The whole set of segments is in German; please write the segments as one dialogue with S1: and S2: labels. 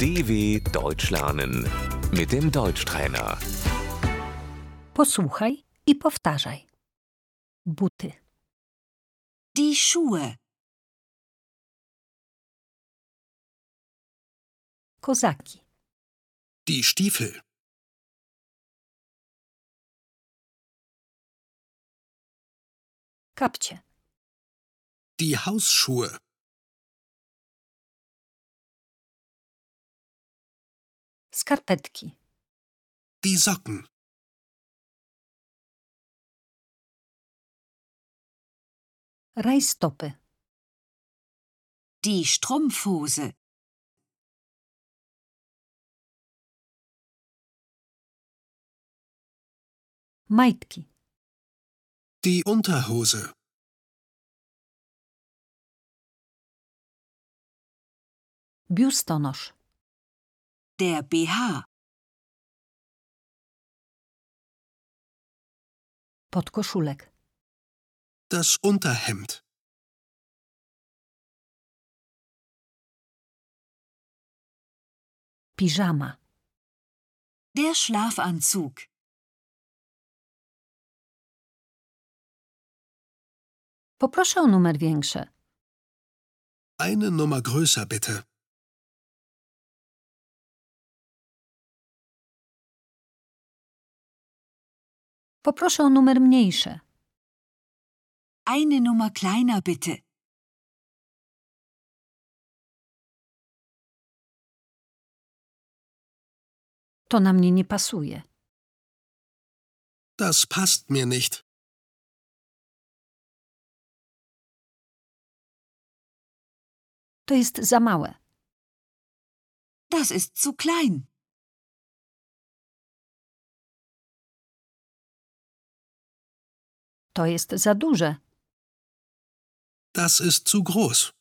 S1: DW Deutsch lernen mit dem Deutschtrainer.
S2: Posłuchaj i powtarzaj. Buty,
S3: Die Schuhe,
S2: kozaki,
S4: Die Stiefel.
S2: kapcie,
S4: Die Hausschuhe.
S2: skarpetki,
S4: Die Socken.
S2: rajstopy,
S3: die Strumpfhose,
S2: majtki,
S4: Die Unterhose.
S2: biustonosz,
S3: der BH,
S2: podkoszulek,
S4: Das Unterhemd.
S2: piżama,
S3: der Schlafanzug,
S2: Poproszę o numer większy.
S4: Eine Nummer größer bitte.
S2: Poproszę o numer mniejszy.
S3: eine Nummer kleiner bitte.
S2: To na mnie nie pasuje.
S4: Das passt mir nicht.
S2: To jest za małe.
S3: Das ist zu klein.
S2: To jest za duże.
S4: Das ist zu groß.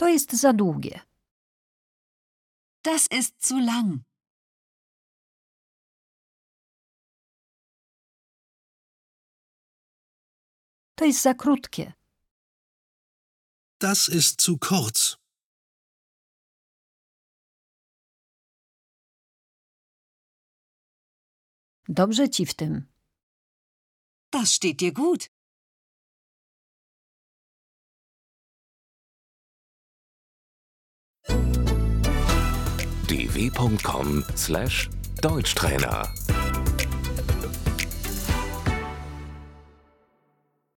S2: To jest za długie.
S3: Das ist zu lang.
S2: To jest za krótkie.
S4: Das ist zu kurz.
S2: Dobrze ci w tym.
S3: Das steht dir gut.
S1: dw.com/deutschtrainer